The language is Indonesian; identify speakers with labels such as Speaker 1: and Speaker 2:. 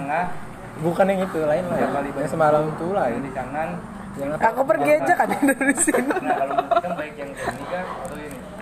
Speaker 1: tengah
Speaker 2: bukan yang itu lain lah ya.
Speaker 1: Yang kali
Speaker 2: yang
Speaker 1: banyak.
Speaker 2: semalam tuh lain
Speaker 1: yang di kanan
Speaker 2: yang apa
Speaker 3: Aku pergi aja kan dari sini.
Speaker 1: nah kalau